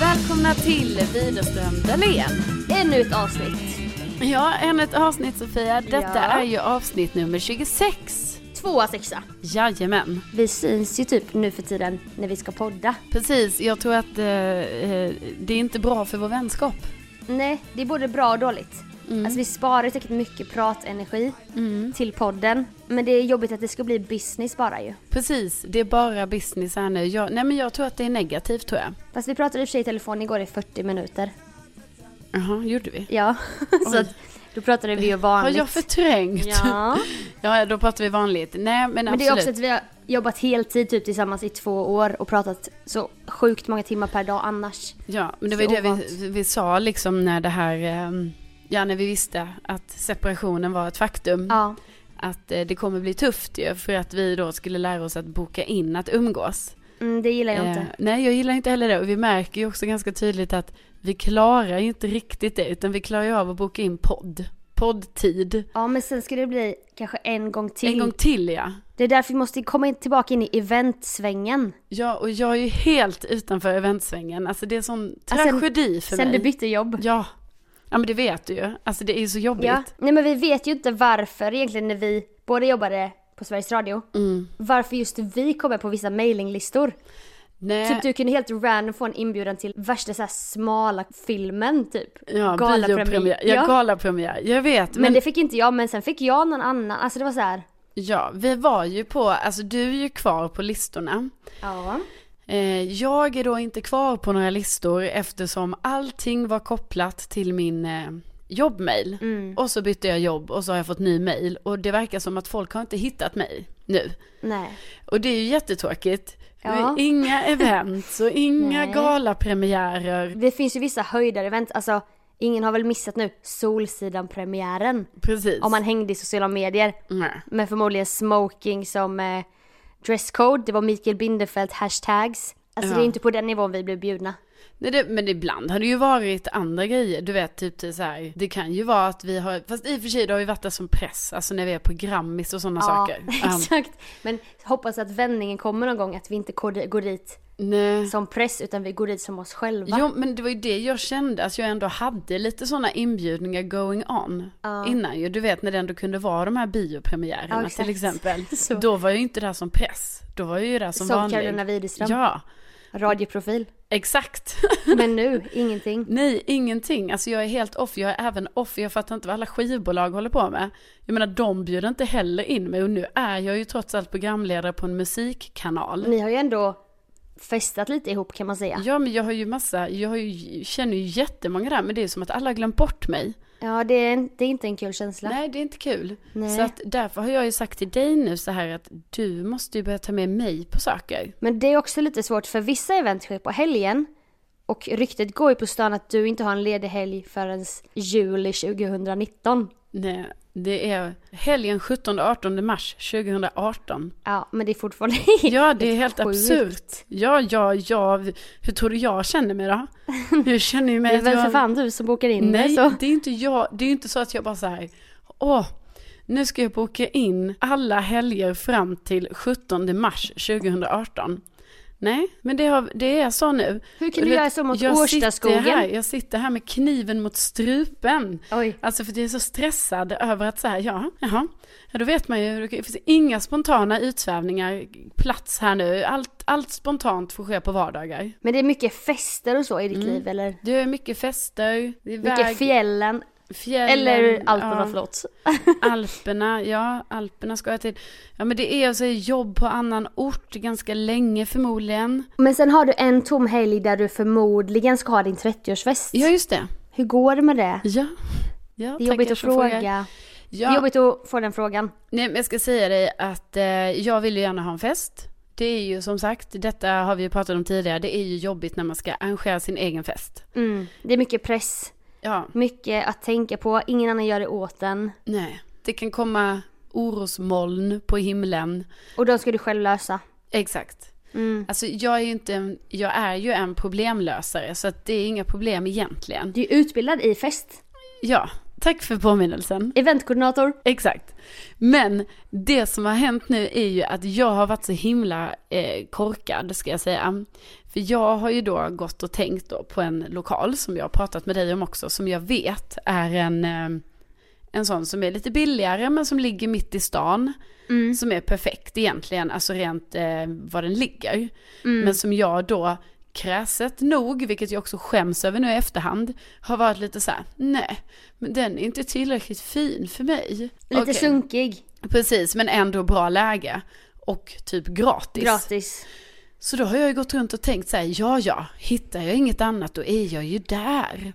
välkomna till Widerström Dahlén. Ännu ett avsnitt. Ja, ännu ett avsnitt Sofia. Detta Ja. är ju avsnitt nummer 26. Tvåa sexa. Jajamän. Vi syns ju typ nu för tiden när vi ska podda. Precis, jag tror att eh, eh, det är inte bra för vår vänskap. Nej, det är både bra och dåligt. Mm. Alltså vi sparar ju säkert mycket pratenergi Mm. till podden. Men det är jobbigt att det ska bli business bara ju. Precis, det är bara business här nu. Jag, nej men jag tror att det är negativt tror jag. Fast vi pratade i och för sig i telefon igår i 40 minuter. Jaha, gjorde vi? Ja, så att då pratade vi ju Har vanligt. jag förträngt? Ja, ja, då pratar vi vanligt. Nej men, men det absolut. är också att vi har jobbat heltid typ tillsammans i två år och pratat så sjukt många timmar per dag annars. Ja, men det Så var ju det ovant. vi, vi sa liksom när det här, ehm, ja när vi visste att separationen var ett faktum. Ja, Att eh, det kommer bli tufft ju för att vi då skulle lära oss att boka in att umgås. mm, det gillar jag Eh, inte. nej, jag gillar inte heller det och vi märker ju också ganska tydligt att vi klarar ju inte riktigt det utan vi klarar ju av att boka in podd. Poddtid. Ja, men sen ska det bli kanske en gång till. En gång till ja. Det är därför vi måste komma in, tillbaka in i eventsvängen. Ja, och jag är ju helt utanför eventsvängen. Alltså det är sån sen- tragedi för Sen mig. du bytte jobb. Ja. Ja men det vet du ju. Alltså det är ju så jobbigt. Ja. Nej men vi vet ju inte varför egentligen när vi båda jobbade på Sveriges Radio. Mm. Varför just vi kommer på vissa mailinglistor. Nej. Typ du kunde helt random få en inbjudan till värsta så här smala filmen typ. Ja, Galapremiär. biopremiär. Ja, Ja. galapremiär. Jag vet. Men, Men, det fick inte jag, men sen fick jag någon annan. Alltså det var så här. ja, vi var ju på, alltså du är ju kvar på listorna. Ja. Eh, jag är då inte kvar på några listor eftersom allting var kopplat till min eh, jobbmail. Mm. Och så bytte jag jobb och så har jag fått ny mail. Och det verkar som att folk har inte hittat mig nu. Nej. Och det är ju jättetråkigt. Ja. Inga events och inga Nej. galapremiärer. Det finns ju vissa höjdarevent. Alltså ingen har väl missat nu Solsidan-premiären. Precis. Om man hängde i sociala medier. Nej. med förmodligen smoking som eh, dresscode. Det var Mikael Binderfeldt hashtags. Alltså Ja. det är inte på den nivån vi blev bjudna. Nej, det, men ibland har det ju varit andra grejer. Du vet, typ till så här, det kan ju vara att vi har, fast i och för sig då har vi varit där som press, alltså när vi är på Grammis och sådana saker. Um, exakt. Men hoppas att vändningen kommer någon gång att vi inte går går dit nej. som press utan vi går dit som oss själva. Jo, men det var ju det jag kände, att jag ändå hade lite sådana inbjudningar going on Ja. innan ju. Du vet när det ändå kunde vara de här Ja, biopremiärerna exakt. till exempel. Så. Då var jag ju inte där som press, då var jag ju där som, som vanlig. Carolina Widerström, Ja, radioprofil. exakt. Men nu, ingenting. Nej, ingenting. Alltså jag är helt off. Jag är även off. Jag fattar inte vad alla skivbolag håller på med. Jag menar, de bjuder inte heller in mig. Och nu är jag ju trots allt programledare på en musikkanal. Ni har ju ändå festat lite ihop kan man säga. Ja, men jag har ju massa, jag har ju, känner ju jättemånga där, men det är som att alla har glömt bort mig. Ja, det är, det är inte en kul känsla. Nej, det är inte kul. Nej. Så att därför har jag ju sagt till dig nu så här att du måste ju börja ta med mig på saker. Men det är också lite svårt för vissa event sker på helgen och ryktet går ju på stan att du inte har en ledig helg förrän juli 2019. Nej, det är helgen 17-18 mars 2018. Ja, men det är fortfarande... Ja, det är helt sjukt. absurt. Ja, ja, ja. Hur tror du jag känner mig då? Jag känner ju det mig är att väl jag... för fan du som bokar in Alltså, det Nej, så. det är inte jag. Det är inte så att jag bara så här, åh, nu ska jag boka in alla helger fram till 17 mars 2018. Nej, men det, har, det är så nu. Hur Och kan du vet, göra så mot jag sitter, här, Årstaskogen? jag sitter här med kniven mot strupen. Oj. Alltså för att jag är så stressad över att så här, ja, jaha, ja, då vet man ju, det finns inga spontana utsvävningar, plats här nu, allt, allt spontant får ske på vardagar. Men det är mycket fester och så i ditt liv eller? Det är mycket fester, det är Mm. väg, Mycket fjällen. fjällen, Eller Alperna, ja, förlåt. Alperna, ja, Alperna ska jag till. Ja men det är alltså jobb på annan ort ganska länge förmodligen. Men sen har du en tom helg där du förmodligen ska ha din 30-årsfest. Ja just det, Hur går det med det? ja. Ja, Det är jobbigt tackar att som frågar. fråga. Det Ja, är jobbigt att få den frågan. Nej, men jag ska säga dig att eh, jag vill ju gärna ha en fest. Det är ju som sagt, detta har vi ju pratat om tidigare, det är ju jobbigt när man ska arrangera sin egen fest. Mm. Det är mycket press. Ja, Mycket att tänka på, ingen annan gör det åt en. nej. Det kan komma orosmoln på himlen. Och de ska du själv lösa. Exakt. Mm. Alltså jag är ju inte en, jag är ju en problemlösare så att det är inga problem egentligen. Du är utbildad i fest. Ja, Tack för påminnelsen. Eventkoordinator. Exakt. Men det som har hänt nu är ju att jag har varit så himla eh, korkad, ska jag säga. För jag har ju då gått och tänkt då på en lokal som jag har pratat med dig om också, som jag vet är en, eh, en sån som är lite billigare men som ligger mitt i stan. Mm. Som är perfekt egentligen, alltså rent eh, var den ligger. Mm. Men som jag då kräset nog, vilket jag också skäms över nu i efterhand, har varit lite så här: nej, men den är inte tillräckligt fin för mig. Lite Okej. sunkig. Precis, men ändå bra läge. Och typ gratis. Gratis. Så då har jag ju gått runt och tänkt så här, ja ja, hittar jag inget annat då är jag ju där.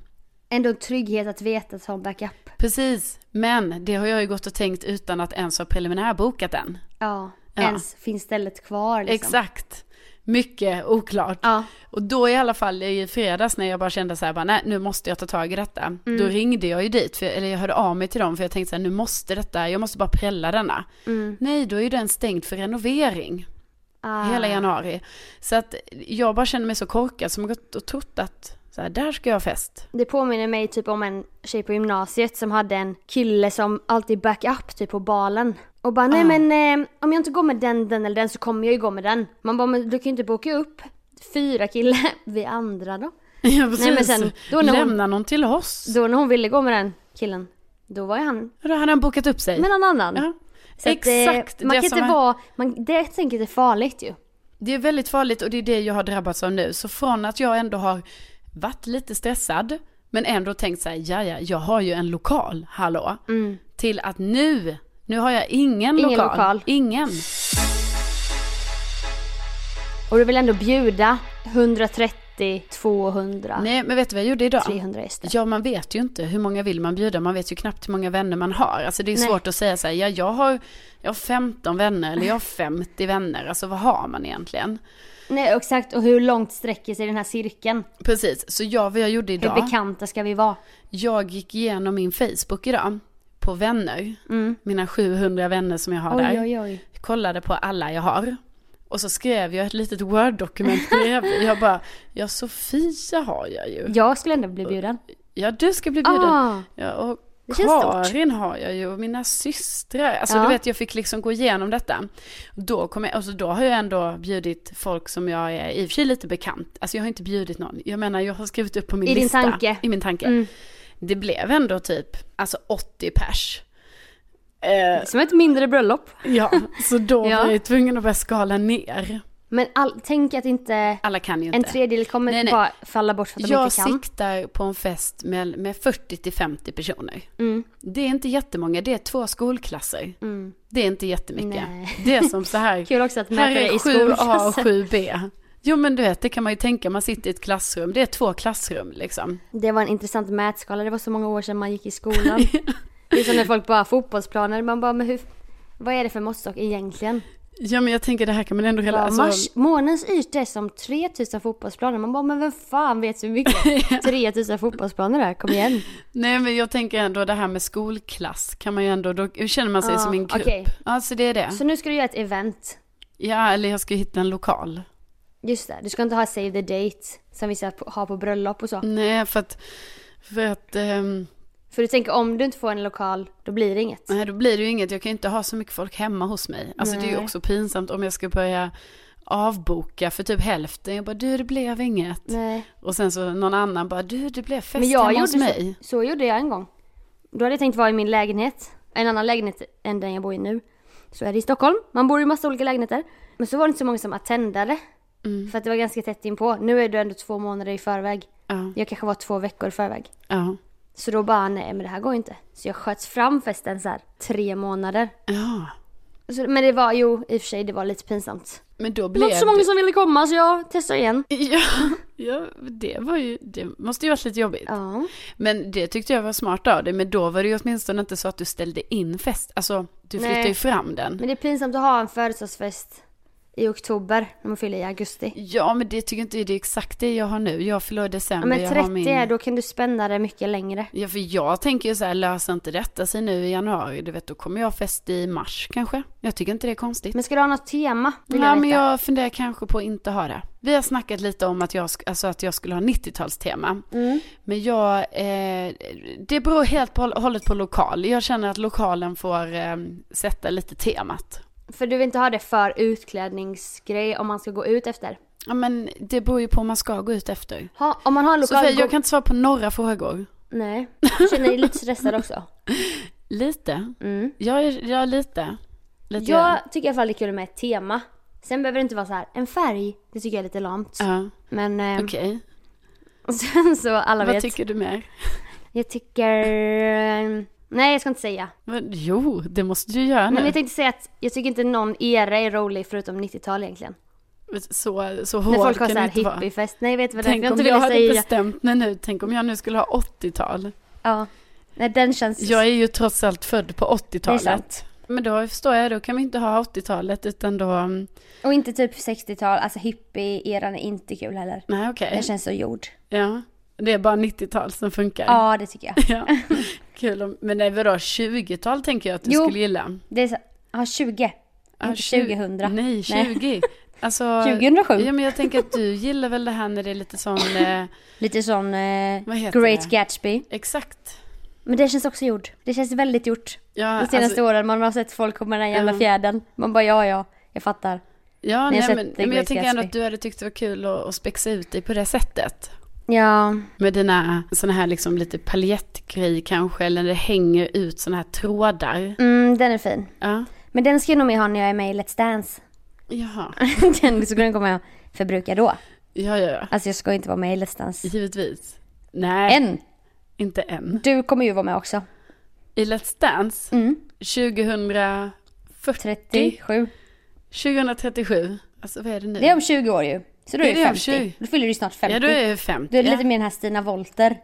Ändå en trygghet att veta att ha en backup. Precis, men det har jag ju gått och tänkt utan att ens ha preliminärbokat än. Ja. Ja. Ens finns stället kvar liksom. Exakt. Mycket oklart. Ja. Och då i alla fall i fredags när jag bara kände så här, bara, nej nu måste jag ta tag i detta. Då ringde jag ju dit, för, eller jag hörde av mig till dem för jag tänkte så här, nu måste detta, jag måste bara prälla denna. Nej, då är ju den stängd för renovering. Ah. hela januari. Så att jag bara känner mig så korkad som har gått och trott att så här, där ska jag ha fest. Det påminner mig typ om en tjej på gymnasiet som hade en kille som alltid backup typ på balen. Och bara Ah." nej men eh, om jag inte går med den, den eller den så kommer jag ju gå med den. Man bara men du kan ju inte boka upp fyra killar, vi andra då. Ja, precis. men sen, då när hon- Lämna någon till oss. Då när hon ville gå med den killen, då var ju han Då hade han bokat upp sig. med någon annan. ja. Så att, eh, Exakt. man det, kan som inte är, vara, man, det är helt enkelt är farligt ju. det är väldigt farligt och det är det jag har drabbats av nu. Så från att jag ändå har varit lite stressad men ändå tänkt så här, ja ja, jag har ju en lokal, hallå. Till att nu, nu har jag ingen, Mm. Ingen lokal. lokal. Ingen. Och du vill ändå bjuda 130, 200, Nej men vet du vad jag gjorde idag? 300 gäster. Ja, man vet ju inte hur många vill man bjuda. Man vet ju knappt hur många vänner man har. Alltså det är Nej. svårt att säga så här, ja, jag har, jag har 15 vänner eller jag har 50 vänner. Alltså vad har man egentligen? Nej exakt, och hur långt sträcker sig den här cirkeln? Precis, så jag, vad jag gjorde Hur idag, bekanta ska vi vara? jag gick igenom min Facebook idag på vänner, mina 700 vänner som jag har Mm. Oj, där. oj, oj. kollade på alla jag har. Och så skrev jag ett litet Word-dokument bredvid. Jag bara, ja Sofia har jag ju. Jag skulle ändå bli bjuden. Ja, du ska bli bjuden. Ah, Ja, och Det känns stort. Karin har jag ju och mina systrar. Alltså Ja. du vet, jag fick liksom gå igenom detta. Då, kom jag, alltså, då har jag ändå bjudit folk som jag är i och för sig lite bekant. Alltså jag har inte bjudit någon. Jag menar, jag har skrivit upp på min I din lista. tanke. I min tanke. Mm. Det blev ändå typ, alltså 80 pers. Eh, som ett mindre bröllop. ja, så då Ja. var jag ju tvungen att börja skala ner. Men all, tänk att inte Alla kan ju inte. en tredjedel kommer Nej, nej. bara falla bort för att de jag inte kan. siktar på en fest med, med 40 till 50 personer. Mm. Det är inte jättemånga, det är två skolklasser. Mm. Det är inte jättemycket. Nej. Det är som så här, Kul också att här mäta det är i 7A och skolklassen. 7B. Jo men du vet, det kan man ju tänka, man sitter i ett klassrum, det är två klassrum liksom. Det var en intressant mätskala, det var så många år sedan man gick i skolan. det är som när folk bara har fotbollsplaner, man bara men hur, vad är det för måttstock egentligen? Ja men jag tänker det här kan man ändå Bara, hela, alltså, mars, månens yta är som 3000 fotbollsplaner, man bara men vem fan vet hur mycket 3000 fotbollsplaner är, kom igen. nej men jag tänker ändå det här med skolklass kan man ju ändå, då känner man sig Ah, som en grupp. okej. Alltså det är det. Så nu ska du göra ett event. Ja eller jag ska ju hitta en lokal. Just det, du ska inte ha save the date som vissa på- har på bröllop och så. Nej för att, för att ehm, För du tänker om du inte får en lokal, då blir det inget. Nej, då blir det ju inget. Jag kan ju inte ha så mycket folk hemma hos mig. Alltså det är ju Nej. också pinsamt om jag ska börja avboka för typ hälften. Jag bara, du det blev inget. Nej. Och sen så någon annan bara, du det blev fest Men jag hemma gjorde hos så, mig. så gjorde jag en gång. Då hade jag tänkt vara i min lägenhet, en annan lägenhet än den jag bor i nu. Så är det i Stockholm, man bor i massa olika lägenheter. Men så var det inte så många som attendade. Mm. För att det var ganska tätt inpå. Nu är du ändå två månader i förväg. Ja, Jag kanske var två veckor i förväg. ja, Så då bara, nej men det här går ju inte. Så jag sköts fram festen så här tre månader. ja. Så, men det var, jo i och för sig det var lite pinsamt. Men då Det blev var inte så många det... som ville komma så jag testar igen. Ja, ja, det var ju, det måste ju varit lite jobbigt. Ja. Men det tyckte jag var smart av dig, men då var det ju åtminstone inte så att du ställde in fest. Alltså, du flyttade Nej. ju fram den. Men det är pinsamt att ha en födelsedagsfest i oktober när man fyller i augusti. Ja, men det tycker inte det är exakt det jag har nu. Jag fyller i Ja, december. men jag 30 har min... är, då kan du spänna det mycket längre. Ja, för jag tänker ju så här, löser inte detta sig nu i januari, du vet, då kommer jag fest i mars kanske. Jag tycker inte det är konstigt. Men ska du ha något tema? Vill Ja, jag men veta. jag funderar kanske på att inte ha det. Vi har snackat lite om att jag, sk- alltså att jag skulle ha 90-talstema. Mm. Men jag, eh, det beror helt på, hållet på lokal. Jag känner att lokalen får eh, sätta lite temat. För du vill inte ha det för utklädningsgrej om man ska gå ut efter. Ja, men det beror ju på om man ska gå ut efter. Ha, om man har en lokal... Sofia, jag gå- kan inte svara på några frågor. Nej. Jag känner dig lite stressad också. Lite? Mm. Ja, ja lite. lite grann. Jag tycker i alla fall det är kul med ett tema. Sen behöver det inte vara så här, en färg. Det tycker jag är lite lamt. Ja, Men eh, okej. sen så alla Vad vet. tycker du mer? jag tycker... eh, Nej, jag ska inte säga. Men, jo, det måste du göra Men nu. jag tänkte säga att jag tycker inte någon era är rolig förutom 90-tal egentligen. Så, så När hård folk har kan så du här inte vara. hippiefest. Nej, vet du vad Tänk jag om inte jag ville hade säga? bestämt mig nu, tänk om jag nu skulle ha 80-tal. Ja. Nej, den känns... Jag är ju trots allt född på Det är 80-talet. Men då förstår jag, då kan vi inte ha 80-talet utan då, mm, Och inte typ 60-tal, alltså hippie-eran är inte kul heller. nej okej. Den känns så gjord. Ja, det är bara 90-tal som funkar. Ja, det tycker jag. Ja. Kul om, men nej vadå, 20-tal tänker jag att du Jo. skulle gilla. Det är så... Ja, 20. Ja, inte tju- 2000. Nej, 20. Alltså, 2007. Ja men jag tänker att du gillar väl det här när det är lite sån, eh, Lite sån eh, Vad heter Great det? Gatsby. exakt. Men det känns också gjort. Det känns väldigt gjort. Ja, De senaste alltså- åren man har sett folk komma med den jävla Ja. fjädern. Man bara ja, ja, jag fattar. Ja, Ni nej, har sett men, The nej, men jag Great tänker ändå Gatsby. att du hade tyckt det var kul att, att spexa ut dig på det sättet. Ja, Med dina sådana här liksom lite paljettgrej kanske, eller det hänger ut sådana här trådar. mm, den är fin. Ja, Men den ska jag nog med ha när jag är med i Let's Dance. jaha. den så den kommer jag förbruka då. Ja, ja, ja. Alltså jag ska inte vara med i Let's Dance. Givetvis. Nej, Än. inte än. Du kommer ju vara med också. I Let's Dance, Mm. 2040, 37. 2037. Alltså vad är det nu? Det är om 20 år ju. Så då Ja, är det du är om 50. 20. Då fyller du snart 50. ja, då är jag 50. Du är lite Mm. mer den här Stina Volter.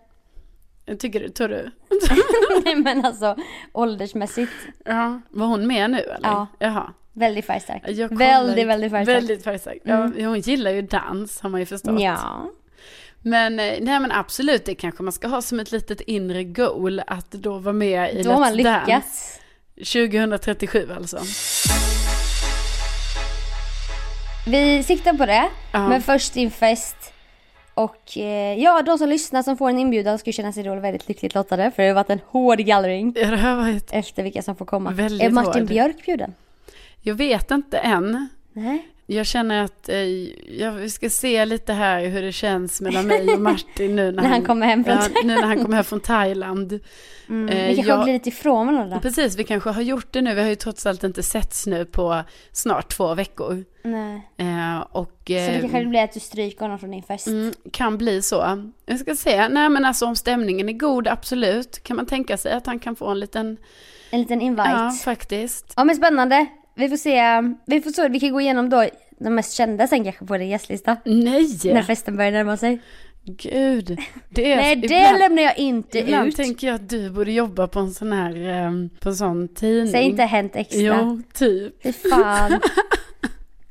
Jag tycker du, tror du? Nej men alltså åldersmässigt. ja. Var hon med nu eller? Ja. Jaha. Väldigt färgstark. Jag kollar- Väldigt, väldigt färgstark. Mm. Väldigt färgstark. Ja, hon gillar ju dans har man ju förstått. Ja. Men eh, nej men absolut, det kanske man ska ha som ett litet inre goal att då vara med i Då har man Let's Dance lyckats. 2037 alltså. Vi siktar på det. Ja. Men först in fest. Och eh, ja, de som lyssnar som får en inbjudan ska ju känna sig då väldigt lyckligt lottade. För det har varit en hård gallring Ja, det här var ett, efter vilka som får komma. Väldigt är Martin hård. Björk bjuden? jag vet inte än. Nej. Jag känner att eh, jag, vi ska se lite här hur det känns mellan mig och Martin nu när, När han kommer hem från Mm. ja, Nu när han kommer hem från Thailand. Eh, Vi kanske jag- har glidit ifrån varandra. Precis, vi kanske har gjort det nu. Vi har ju trots allt inte setts nu på snart två veckor. Nej. Eh, och, Så det eh, kanske blir att du stryker honom från din fest. Mm, kan bli så. Jag ska säga, nej men alltså om stämningen är god, absolut. Kan man tänka sig att han kan få en liten, En liten invite. ja faktiskt. Ja men spännande. Vi får se. Vi får se. Vi kan gå igenom då de mest kända sen kanske på din gästlista. Nej! När festen börjar närma sig. Gud. Det är, Nej det ibland, lämnar jag inte ibland ut. tänker jag att du borde jobba på en sån här, eh, på en sån tidning. Säg inte hänt extra. Jo, typ. Fy fan.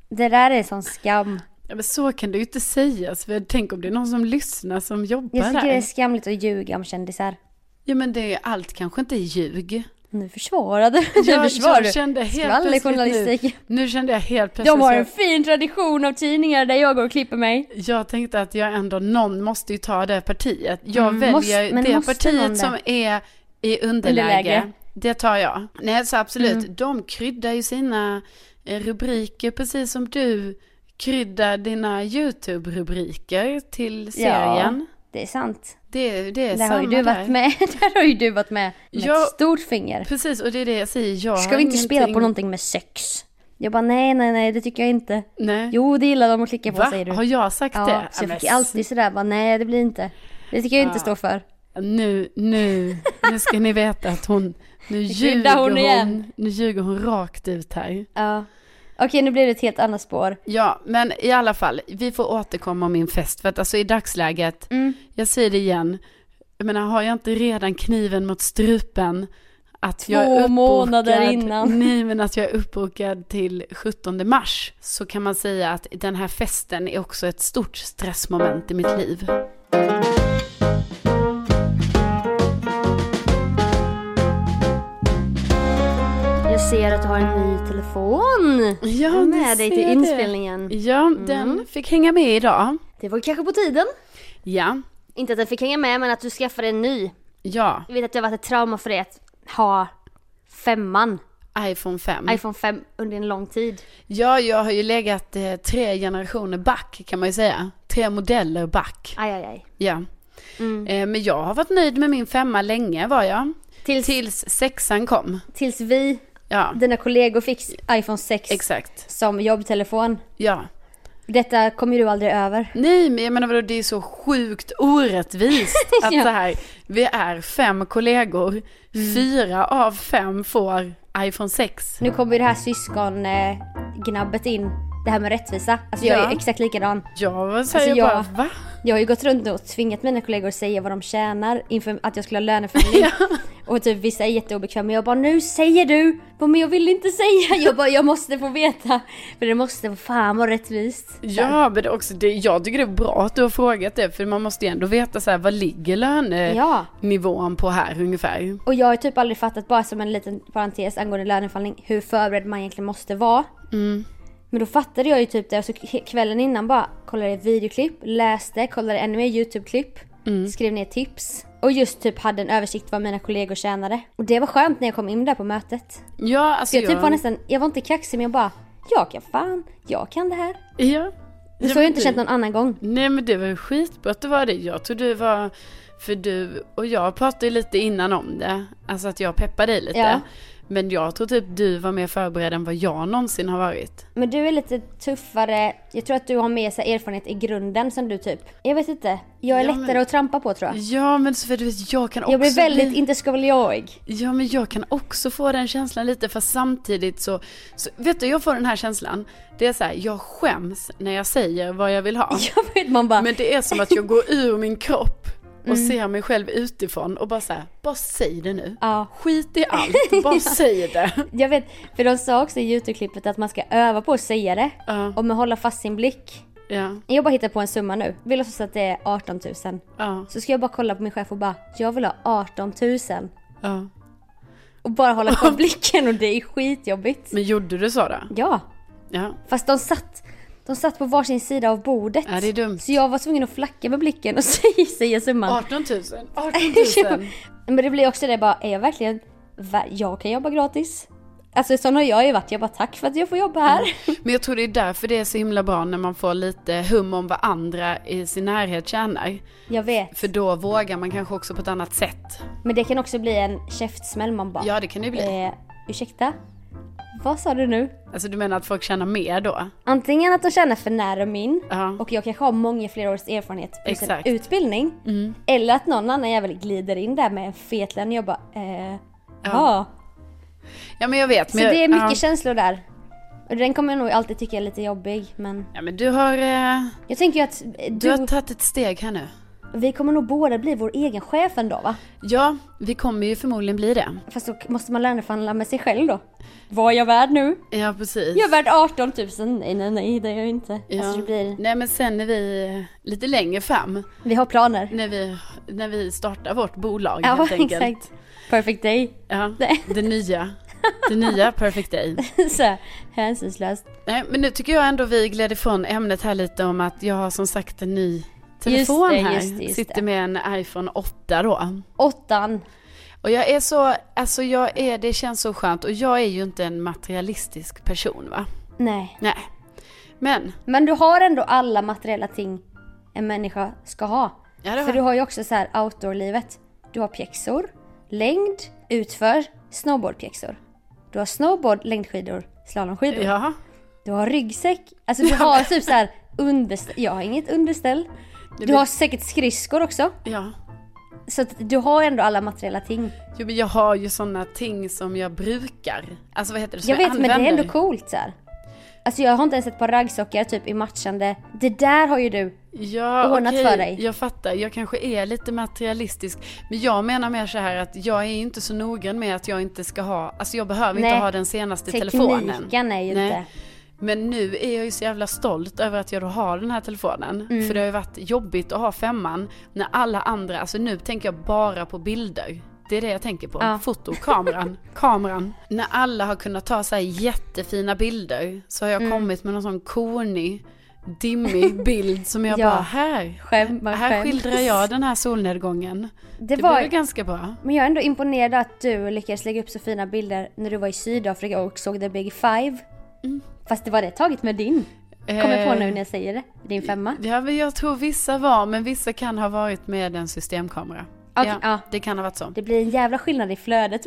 Det där är en sån skam. Ja, men så kan du ju inte säga, för tänk om det är någon som lyssnar som jobbar Jag tycker det är där. skamligt att ljuga om kändisar. Ja men det är allt kanske inte är ljug. Nu försvarar du. Nu Jag, försvarar jag du. kände helt plötsligt nu, Skvallerjournalistik. nu kände jag helt plötsligt De har så- en fin tradition av tidningar där jag går och klipper mig. Jag tänkte att jag ändå, någon måste ju ta det partiet. Jag Mm, väljer måste- men det måste någon partiet det? som är i underläge. Underläge. Mm. Det tar jag. Nej, så absolut. De kryddar ju sina eh, rubriker precis som du kryddar dina YouTube-rubriker till serien. Det är sant. Det, det är Där samma har ju du varit där. med. Där har ju du varit med med Jag- ett stort finger. Precis, och det är det jag säger. Jag Ska har vi inte spela på ingenting- någonting med sex? Jag bara nej, nej, nej, det tycker jag inte. Nej. Jo, det gillar de att klicka på Va? säger du. Har jag sagt det? ja, så Ja, jag fick men alltid sådär bara nej, det blir inte. Det tycker jag inte står för. Nu, nu, nu ska ni veta att hon, nu ljuger kryddar hon hon, igen. nu ljuger hon rakt ut här. Ja. Okej, nu blir det ett helt annat spår. Ja, men i alla fall, vi får återkomma om min fest, för att alltså i dagsläget, jag säger det igen, jag menar har jag inte redan kniven mot strupen, att jag Två är uppbokad, månader innan. Nej men att jag är uppbokad till 17 mars så kan man säga att den här festen är också ett stort stressmoment i mitt liv. Jag ser att du har en ny telefon. Ja, Ta det med dig till ser jag det. inspelningen. Ja, den fick hänga med idag. Det var kanske på tiden. Ja, Inte att den fick hänga med men att du skaffade en ny. ja, Jag vet att det har varit ett trauma för dig att ha femman, iPhone 5. iPhone 5 under en lång tid. Ja, jag har ju legat eh, tre generationer back kan man ju säga. Tre modeller back. Aj, aj, aj. Ja. Mm. Eh, men jag har varit nöjd med min femma länge var jag. Tills, Tills sexan kom. tills vi, Ja, dina kollegor, fick iPhone 6 exakt. som jobbtelefon. Ja. Detta kommer du aldrig över. Nej, men jag menar vadå, det är så sjukt orättvist att Ja. så här, vi är fem kollegor, Mm. fyra av fem får iPhone 6. Nu kommer ju det här syskongnabbet in. Det här med rättvisa. Alltså jag Ja. är ju exakt likadan. Jag säger Alltså, bara, jag- va? Jag har ju gått runt och tvingat mina kollegor att säga vad de tjänar inför att jag skulle ha löneförhandling. Och typ vissa är jätteobekväma. Jag bara nu säger du! Bara, men jag vill inte säga. Jag bara jag måste få veta. För det måste vara fan vara rättvist. Ja, men det är också, det, jag tycker det är bra att du har frågat det, för man måste ju ändå veta så här, vad ligger lönenivån Ja. på här ungefär? Och jag har typ aldrig fattat, bara som en liten parentes angående löneförhandling, hur förberedd man egentligen måste vara. Mm. Men då fattade jag ju typ det och så k- kvällen innan bara kollade videoklipp, läste, kollade ännu mer YouTube-klipp, Mm. skrev ner tips. Och just typ hade en översikt vad mina kollegor tjänade. Och det var skönt när jag kom in där på mötet. Ja, alltså Så jag typ var nästan, jag var inte kaxig men jag bara, jag kan fan, jag kan det här. Ja. Det så har jag inte känt någon annan gång. Nej men det var ju skitbra att det var det. Jag tror du var, för du och jag pratade ju lite innan om det. Alltså att jag peppade dig lite. Ja. Men jag tror typ du var mer förberedd än vad jag någonsin har varit. Men du är lite tuffare, jag tror att du har med sig erfarenhet i grunden som du typ, jag vet inte, jag är Ja, men- lättare att trampa på tror jag. Ja men Sofia du vet jag kan också Jag blir väldigt bli- inte skvaljoig. Ja men jag kan också få den känslan lite fast samtidigt så, så vet du jag får den här känslan. Det är så här, jag skäms när jag säger vad jag vill ha. Jag vet man bara, Men det är som att jag går ur min kropp och ser mig själv utifrån och bara så här, bara säg det nu. ja. Skit i allt, bara säg det. Jag vet, för de sa också i Youtube-klippet att man ska öva på att säga det. Ja, Och med hålla fast sin blick. ja, Jag bara hittar på en summa nu. Vill låtsas att det är 18 000. ja, Så ska jag bara kolla på min chef och bara, jag vill ha 18 000. ja. Och bara hålla kvar blicken och det är skitjobbigt. Men gjorde du så då? Ja, Ja. fast de satt, de satt på varsin sida av bordet. Ja, det är dumt. Så jag var tvungen att flacka med blicken och säga, säga summan. 18 000, 18 000. Men det blir också det bara, är jag verkligen, va- jag kan jobba gratis? Alltså sån har jag ju varit, jag bara tack för att jag får jobba här. Men jag tror det är därför det är så himla bra när man får lite hum om vad andra i sin närhet tjänar. Jag vet. För då vågar man kanske också på ett annat sätt. Men det kan också bli en käftsmäll man bara, Ja, det kan det ju bli. eh, ursäkta? Vad sa du nu? Alltså du menar att folk tjänar mer då? Antingen att de känner för nära min Ja. och jag kanske har många flera års erfarenhet plus en Exakt. Mm. utbildning. Eller att någon annan jävel glider in där med en fet lön och jag bara, eh, ja. Ja men jag vet. Så men jag, det är mycket ja. känslor där. Och den kommer jag nog alltid tycka är lite jobbig men ja men du har, eh, jag tänker ju att eh, du du, har tagit ett steg här nu. vi kommer nog båda bli vår egen chef en dag va? Ja, vi kommer ju förmodligen bli det. Fast då måste man löneförhandla med sig själv då. Vad är jag värd nu? Ja precis. Jag är värd 18 000. Nej, nej, nej, det är jag inte. Ja. Alltså det blir... Nej men sen när vi, eh, lite längre fram, Vi har planer. när vi, när vi startar vårt bolag Ja, helt enkelt. exakt. Perfect day. Ja, Nej. det nya. Det nya Perfect Day. Så här, hänsynslöst. Nej, men nu tycker jag ändå vi gled ifrån ämnet här lite om att jag har som sagt en ny telefon Just det, här. just det, just Sitter det. med en iPhone 8 då. Åttan. Och jag är så, alltså jag är, det känns så skönt och jag är ju inte en materialistisk person va. Nej. Nej. Men, Men du har ändå alla materiella ting en människa ska ha. ja det För var, du har ju också så här outdoor-livet. Du har pjäxor, längd, utför, snowboardpjäxor. Du har snowboard, längdskidor, slalomskidor. ja. Du har ryggsäck. Alltså du har typ så här underställ. Jag har inget underställ. Du har säkert skridskor också. Ja. Så att du har ändå alla materiella ting. Jo, men jag har ju sådana ting som jag brukar. Alltså vad heter det? Som jag vet men det är använder. ändå coolt så här. Alltså jag har inte ens ett par raggsockor typ i matchande. Det där har ju du. Ja, ordnat okej, för dig. jag fattar. Jag kanske är lite materialistisk. Men jag menar mer så här att jag är inte så noggrann med att jag inte ska ha, alltså jag behöver Nej. inte ha den senaste telefonen. Tekniken är ju Nej. inte... Men nu är jag ju så jävla stolt över att jag då har den här telefonen. Mm. För det har ju varit jobbigt att ha femman när alla andra, alltså nu tänker jag bara på bilder. Det är det jag tänker på. Ja. Foto, kameran, kameran. När alla har kunnat ta så här jättefina bilder så har Mm. jag kommit med någon sån konig, dimmig bild som jag Ja. bara här. Skäm, man Här skäms. skildrar jag den här solnedgången. Det Det var, blev ju ganska bra. Men jag är ändå imponerad att du lyckades lägga upp så fina bilder när du var i Sydafrika och såg the big five. Mm. Fast det var det taget med din. Kommer Eh, på nu när jag säger det. Din femma. Ja, men jag tror vissa var, men vissa kan ha varit med en systemkamera. Okej, ja, ja. Det kan ha varit så. Det blir en jävla skillnad i flödet.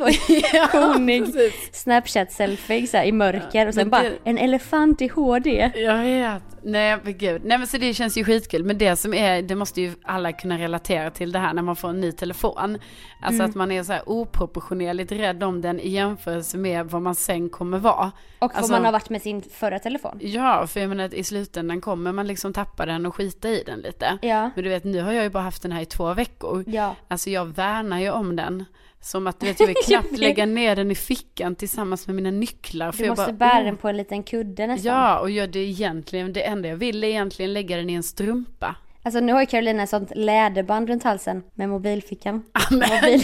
Var konig Snapchat-selfie så här, i mörker och sen men bara det- en elefant i HD. Jag vet. Nej men gud. Nej men så det känns ju skitkul. Men det som är, det måste ju alla kunna relatera till det här när man får en ny telefon. Alltså Mm. att man är så här oproportionerligt rädd om den i jämförelse med vad man sen kommer vara. Och Alltså- vad man har varit med sin förra telefon. Ja, för jag menar i slutändan kommer man liksom tappa den och skita i den lite. Ja. Men du vet nu har jag ju bara haft den här i två veckor. Ja. Alltså jag värnar ju om den. Som att du vet jag vill knappt lägga ner den i fickan tillsammans med mina nycklar. För Du jag måste bara, bära "Oh." den på en liten kudde nästan. Ja, och jag, det, är egentligen, det enda jag vill är egentligen lägga den i en strumpa. Alltså nu har ju Carolina ett sånt läderband runt halsen med mobilfickan. men- Mobilen.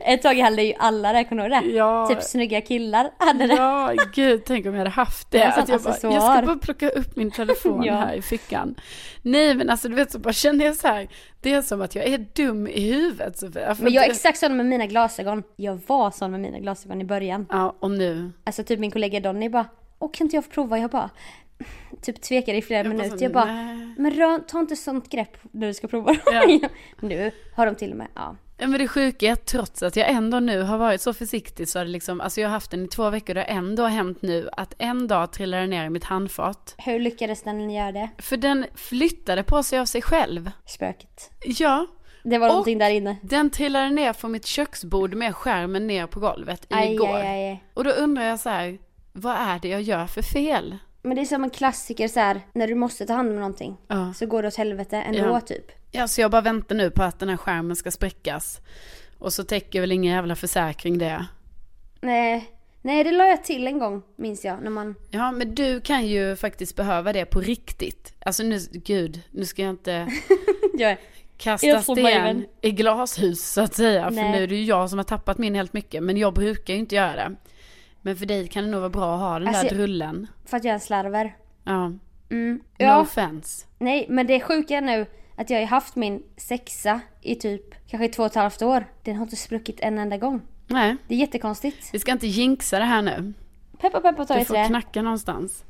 ett tag hade ju alla det, kommer du ihåg det? Ja. Typ snygga killar hade det. Ja, gud, tänk om jag hade haft det. En sån Att jag, bara, accessoar. jag ska bara plocka upp min telefon Ja. här i fickan. Nej, men alltså du vet så bara känner jag så här. Det är som att jag är dum i huvudet Sofia. För Men jag är det- exakt sån med mina glasögon. Jag var sån med mina glasögon i början. Ja, och nu. Alltså typ min kollega Donny bara, åh kan inte jag få prova? Jag bara, typ tvekade i flera bara minuter. så, jag bara, "Nej." men rör, ta inte sånt grepp när du ska prova. Ja. nu har de till och med, ja. Ja, Men det sjuka är att trots att jag ändå nu har varit så försiktig så har det liksom, alltså jag har haft den i två veckor och det har ändå hänt nu att en dag trillar den ner i mitt handfat. Hur lyckades den göra det? För den flyttade på sig av sig själv. Spöket. Ja, Det var Och- någonting där inne. Den trillade ner från mitt köksbord med skärmen ner på golvet Aj, igår. aj, aj, aj. Och då undrar jag så här, vad är det jag gör för fel? Men det är som en klassiker så här, när du måste ta hand om någonting. Ja. Så går det åt helvete ändå Ja. typ. Ja, så jag bara väntar nu på att den här skärmen ska spräckas. Och så täcker väl ingen jävla försäkring det. Nej, nej det la jag till en gång minns jag. När man... Ja, men du kan ju faktiskt behöva det på riktigt. Alltså nu, gud, nu ska jag inte jag kasta Jag får mig sten vän. i glashus så att säga. För Nej. nu är det ju jag som har tappat min helt mycket, men jag brukar ju inte göra det. Men för dig kan det nog vara bra att ha den Alltså, där drullen. för att jag är en slarver. Ja, no Mm. Ja, offense. nej men det sjuka är nu att jag har haft min sexa i typ kanske två och ett halvt år. Den har inte spruckit en enda gång. Nej, Det är jättekonstigt. vi ska inte jinxa det här nu. Peppa peppa tar Du i får trä. knacka någonstans.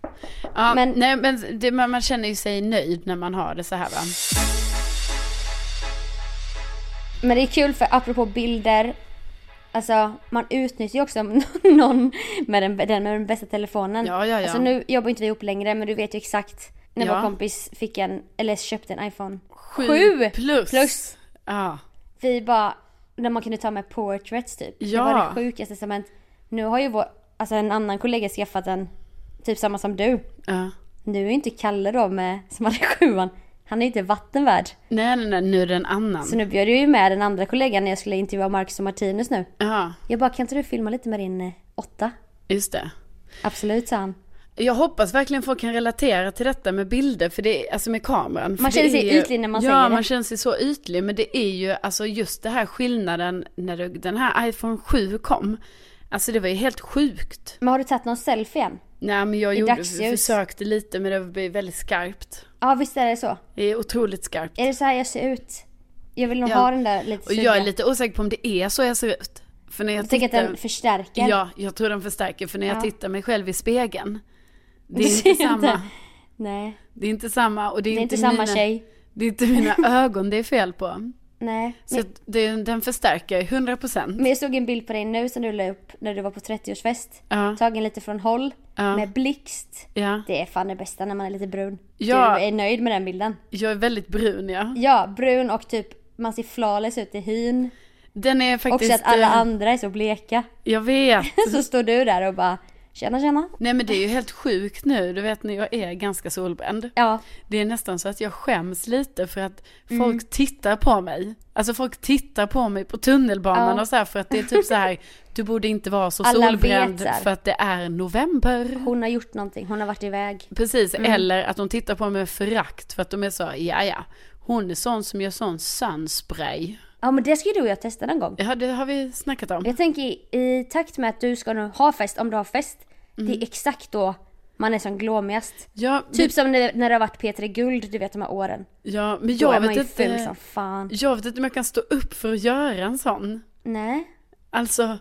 Ja, men, Men- nej, men det, man, man känner ju sig nöjd när man har det så här va. Men det är kul för apropå bilder. Alltså man utnyttjar ju också någon med den, den med den bästa telefonen. Ja, ja, ja. Alltså nu jobbar inte vi ihop längre men du vet ju exakt när Ja. vår kompis fick en, eller köpte en iPhone. Sju, Sju plus. plus. Ja, Vi bara, när man kunde ta med portraits typ. Ja. Det var det sjukaste som hänt. Nu har ju vår, alltså en annan kollega skaffat en, typ samma som du. ja. Nu är inte Kalle då med, som hade sjuan, han är ju inte vattenvärd. Nej, nej, nej, nu är det en annan. Så nu bjöd jag ju med den andra kollegan när jag skulle intervjua Marcus och Martinus nu. Ja, Jag bara, kan inte du filma lite med din eh, åtta? just det. Absolut, sa han. Jag hoppas verkligen folk kan relatera till detta med bilder, för det är, alltså med kameran. För Man det känner sig är ju- ytlig när man ja, säger Ja, det. man känner sig så ytlig, men det är ju alltså just det här skillnaden när du, den här iPhone 7 kom. Alltså det var ju helt sjukt. Men har du tagit någon selfie än? Nej men jag I gjorde, dagsljus. försökte lite men det blev väldigt skarpt. Ja, visst är det så. Det är otroligt skarpt. Är det så här jag ser ut? Jag vill nog Ja. ha den där lite Och jag är lite osäker på om det är så jag ser ut. För när jag, Jag tänker tittar... att den förstärker. Ja, jag tror den förstärker för när jag Ja. tittar mig själv i spegeln. Det Du är inte ser samma. Nej, Det är inte samma och det är, det är inte mina... samma tjej. Det är inte mina ögon det är fel på. Nej. Så att det, den förstärker 100%. procent. Men jag såg en bild på dig nu som du la upp när du var på 30-årsfest. Ja, Tagen lite från håll Ja. med blixt. ja. Det är fan det bästa när man är lite brun. Ja. Du är nöjd med den bilden. Jag är väldigt brun ja. Ja, brun och typ man ser flawless ut i hyn. Den är Och faktiskt... så att alla eh, andra är så bleka. Jag vet. Så står du där och bara Tjena tjena. Nej men det är ju helt sjukt nu, du vet när jag är ganska solbränd. Ja, Det är nästan så att jag skäms lite för att Mm. folk tittar på mig. Alltså folk tittar på mig på tunnelbanan Ja. och så här för att det är typ så här, du borde inte vara så Alla vet solbränd så här. för att det är november. hon har gjort någonting. Hon har varit iväg. Precis, Mm. eller att de tittar på mig med förakt för att de är så, ja ja, hon är sån som gör sån sunspray. Ja men det ska ju du och jag testa någon gång. Ja det har vi snackat om. Jag tänker i, i takt med att du ska nu ha fest, om du har fest. Det Mm. är exakt då man är som glåmigast. Ja, Typ som när, när det har varit P3 Guld, du vet de här åren. ja men Då är jag man vet ju liksom. ful inte. som fan. Jag vet inte om jag kan stå upp för att göra en sån. Nej. Alltså,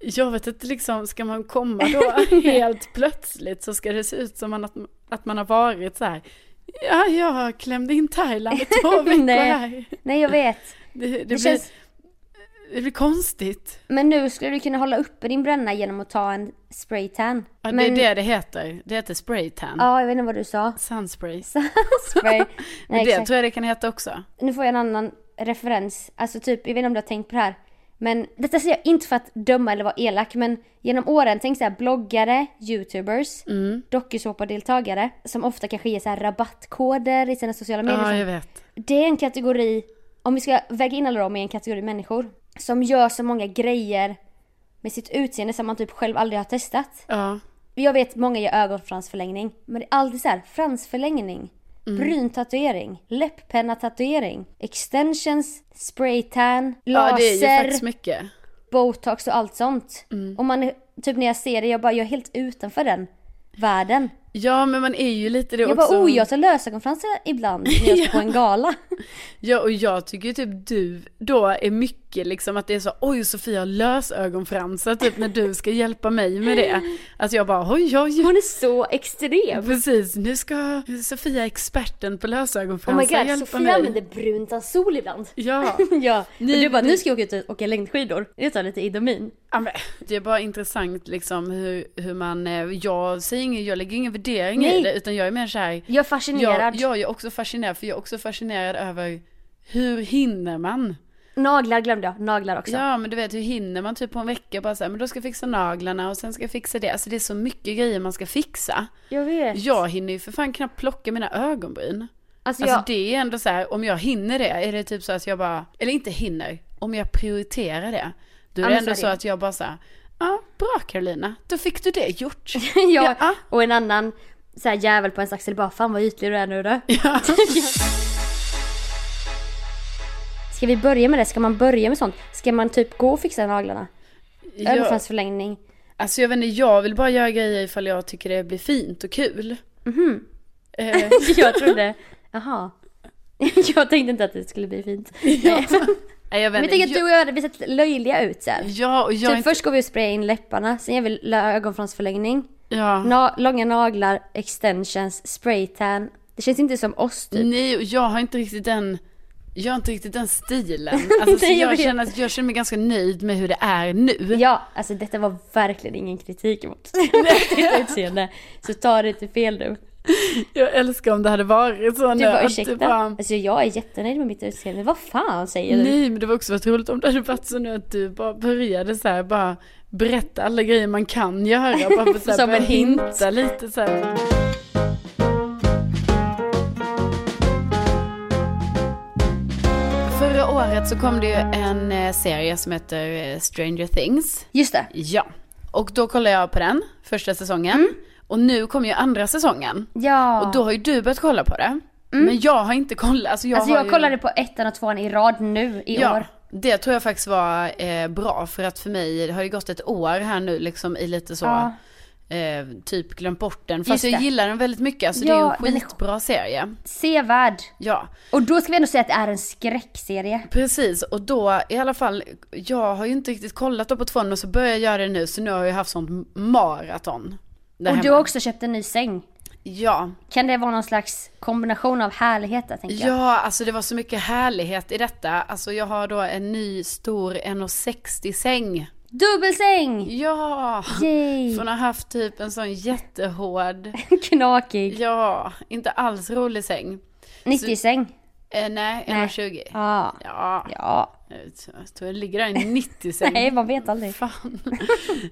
jag vet inte liksom, ska man komma då helt plötsligt så ska det se ut som man, att, att man har varit så här. Ja, jag klämde in Thailand i två veckor Nej. här. Nej jag vet. Det, det, blir, Det känns... det blir konstigt. Men nu skulle du kunna hålla uppe din bränna genom att ta en spraytan. Ja, Men- Det är det det heter. Det heter spraytan. Ja, jag vet inte vad du sa. Sunspray. Spray. Men Nej, det exakt. tror jag det kan heta också. Nu får jag en annan referens. Alltså typ, jag vet inte om du har tänkt på det här. Men detta säger jag inte för att döma eller vara elak, men genom åren, tänk så här bloggare, youtubers, mm. dokusåpadeltagare som ofta kanske ger så här rabattkoder i sina sociala medier. Ja, jag vet. Det är en kategori, om vi ska väga in alla dem i en kategori människor, som gör så många grejer med sitt utseende som man typ själv aldrig har testat. Ja. Jag vet många gör ögonfransförlängning, men det är alltid så här fransförlängning, bryntatuering, läpppenna-tatuering, extensions, spraytan, ja, det är ju laser, faktiskt mycket. botox och allt sånt. Och man är, typ när jag ser det, jag bara, jag är helt utanför den världen. Ja, men man är ju lite det Jag också. bara, oh jag tar lösögonfransar ibland när jag ska på en gala. Ja och jag tycker ju typ du då är mycket liksom att det är så oj Sofia lösögonfransar typ när du ska hjälpa mig med det. Alltså jag bara oj oj. oj. Hon är så extrem. Precis, nu ska Sofia experten på Oh my lösögonfransar god, hjälpa Sofia mig. använder brunt sol ibland. Ja, Ja, och Ni- du bara, ni- nu ska jag åka ut och åka längdskidor. Jag tar lite Idomin. Ja, men det är bara intressant liksom hur, hur man, eh, jag säger ingen, jag lägger ingen värdering i Nej. det utan jag är mer såhär, Jag är jag, fascinerad. jag är också fascinerad för jag är också fascinerad över hur hinner man? Naglar glömde jag, naglar också. Ja men du vet hur hinner man typ på en vecka bara såhär, men då ska jag fixa naglarna och sen ska jag fixa det. Alltså det är så mycket grejer man ska fixa. Jag vet. Jag hinner ju för fan knappt plocka mina ögonbryn. Alltså, Alltså jag, det är ändå så här, om jag hinner det, är det typ så att jag bara, eller inte hinner, om jag prioriterar det. Då är Ja, det men ändå så så är det. att jag bara såhär, ja bra Carolina, då fick du det gjort. jag Ja. och en annan så här, jävel på ens axel bara, fan vad ytlig du är nu då. Ja. Ska vi börja med det? Ska man börja med sånt? Ska man typ gå och fixa naglarna? Jag, Ögonfransförlängning? alltså jag vet inte, jag vill bara göra grejer ifall jag tycker det blir fint och kul. Mhm. Eh, jag trodde, jaha. jag tänkte inte att det skulle bli fint. Nej, nej, jag vet Men jag inte. tänker att du och jag hade sett löjliga ut så här. Ja, och jag är Typ inte, först går vi och sprayar in läpparna, sen gör vi lö- ögonfransförlängning. ja. Na- långa naglar, extensions, spraytan. Det känns inte som oss typ. Nej, och jag har inte riktigt den, jag har inte riktigt den stilen. Alltså, så Nej, jag jag, vet. känner, att- jag känner mig ganska nöjd med hur det är nu. Ja, alltså detta var verkligen ingen kritik mot ditt utseende. Så ta det inte fel nu. Jag älskar om det hade varit så Du nu, bara att ursäkta. du bara- Alltså jag är jättenöjd med mitt utseende. Vad fan säger du? Nej, men det var också varit roligt om det hade varit så nu att du bara började så här, bara berätta alla grejer man kan göra. Bara för så här, Som börja en hint. hinta lite så här. Förra året så kom det ju en eh, serie som heter eh, Stranger Things. Just det. Ja, och då kollade jag på den första säsongen. Och nu kommer ju andra säsongen. Mm. Ja. Mm. Och då har ju du börjat kolla på det. Men jag har inte kollat. Alltså jag, alltså har jag ju... kollade på ettan och tvåan i rad nu i ja, år. Det tror jag faktiskt var eh, bra för att för mig det har ju gått ett år här nu liksom i lite så Ja. eh, typ glömt bort den. Just Fast jag det. gillar den väldigt mycket. Alltså det är Ja, ju den en är- skitbra serie. Sevärd. Ja, Och då ska vi ändå säga att det är en skräckserie. precis. Och då i alla fall, jag har ju inte riktigt kollat då på tvåan och så börjar jag göra det nu så nu har jag ju haft sånt maraton. där och du hemma. har också köpt en ny säng. Ja, Kan det vara någon slags kombination av härligheter tänker jag? Ja, alltså det var så mycket härlighet i detta. Alltså jag har då en ny stor 1,60 säng. Dubbelsäng! Ja! Yay! Från att ha haft typ en sån jättehård, Knakig. ja, inte alls rolig säng. 90-säng. Eh, nej, Nej. 1,20. Ja. Ja. Ja. Jag tror jag ligger där i 90 säng. Nej, man vet aldrig. Fan.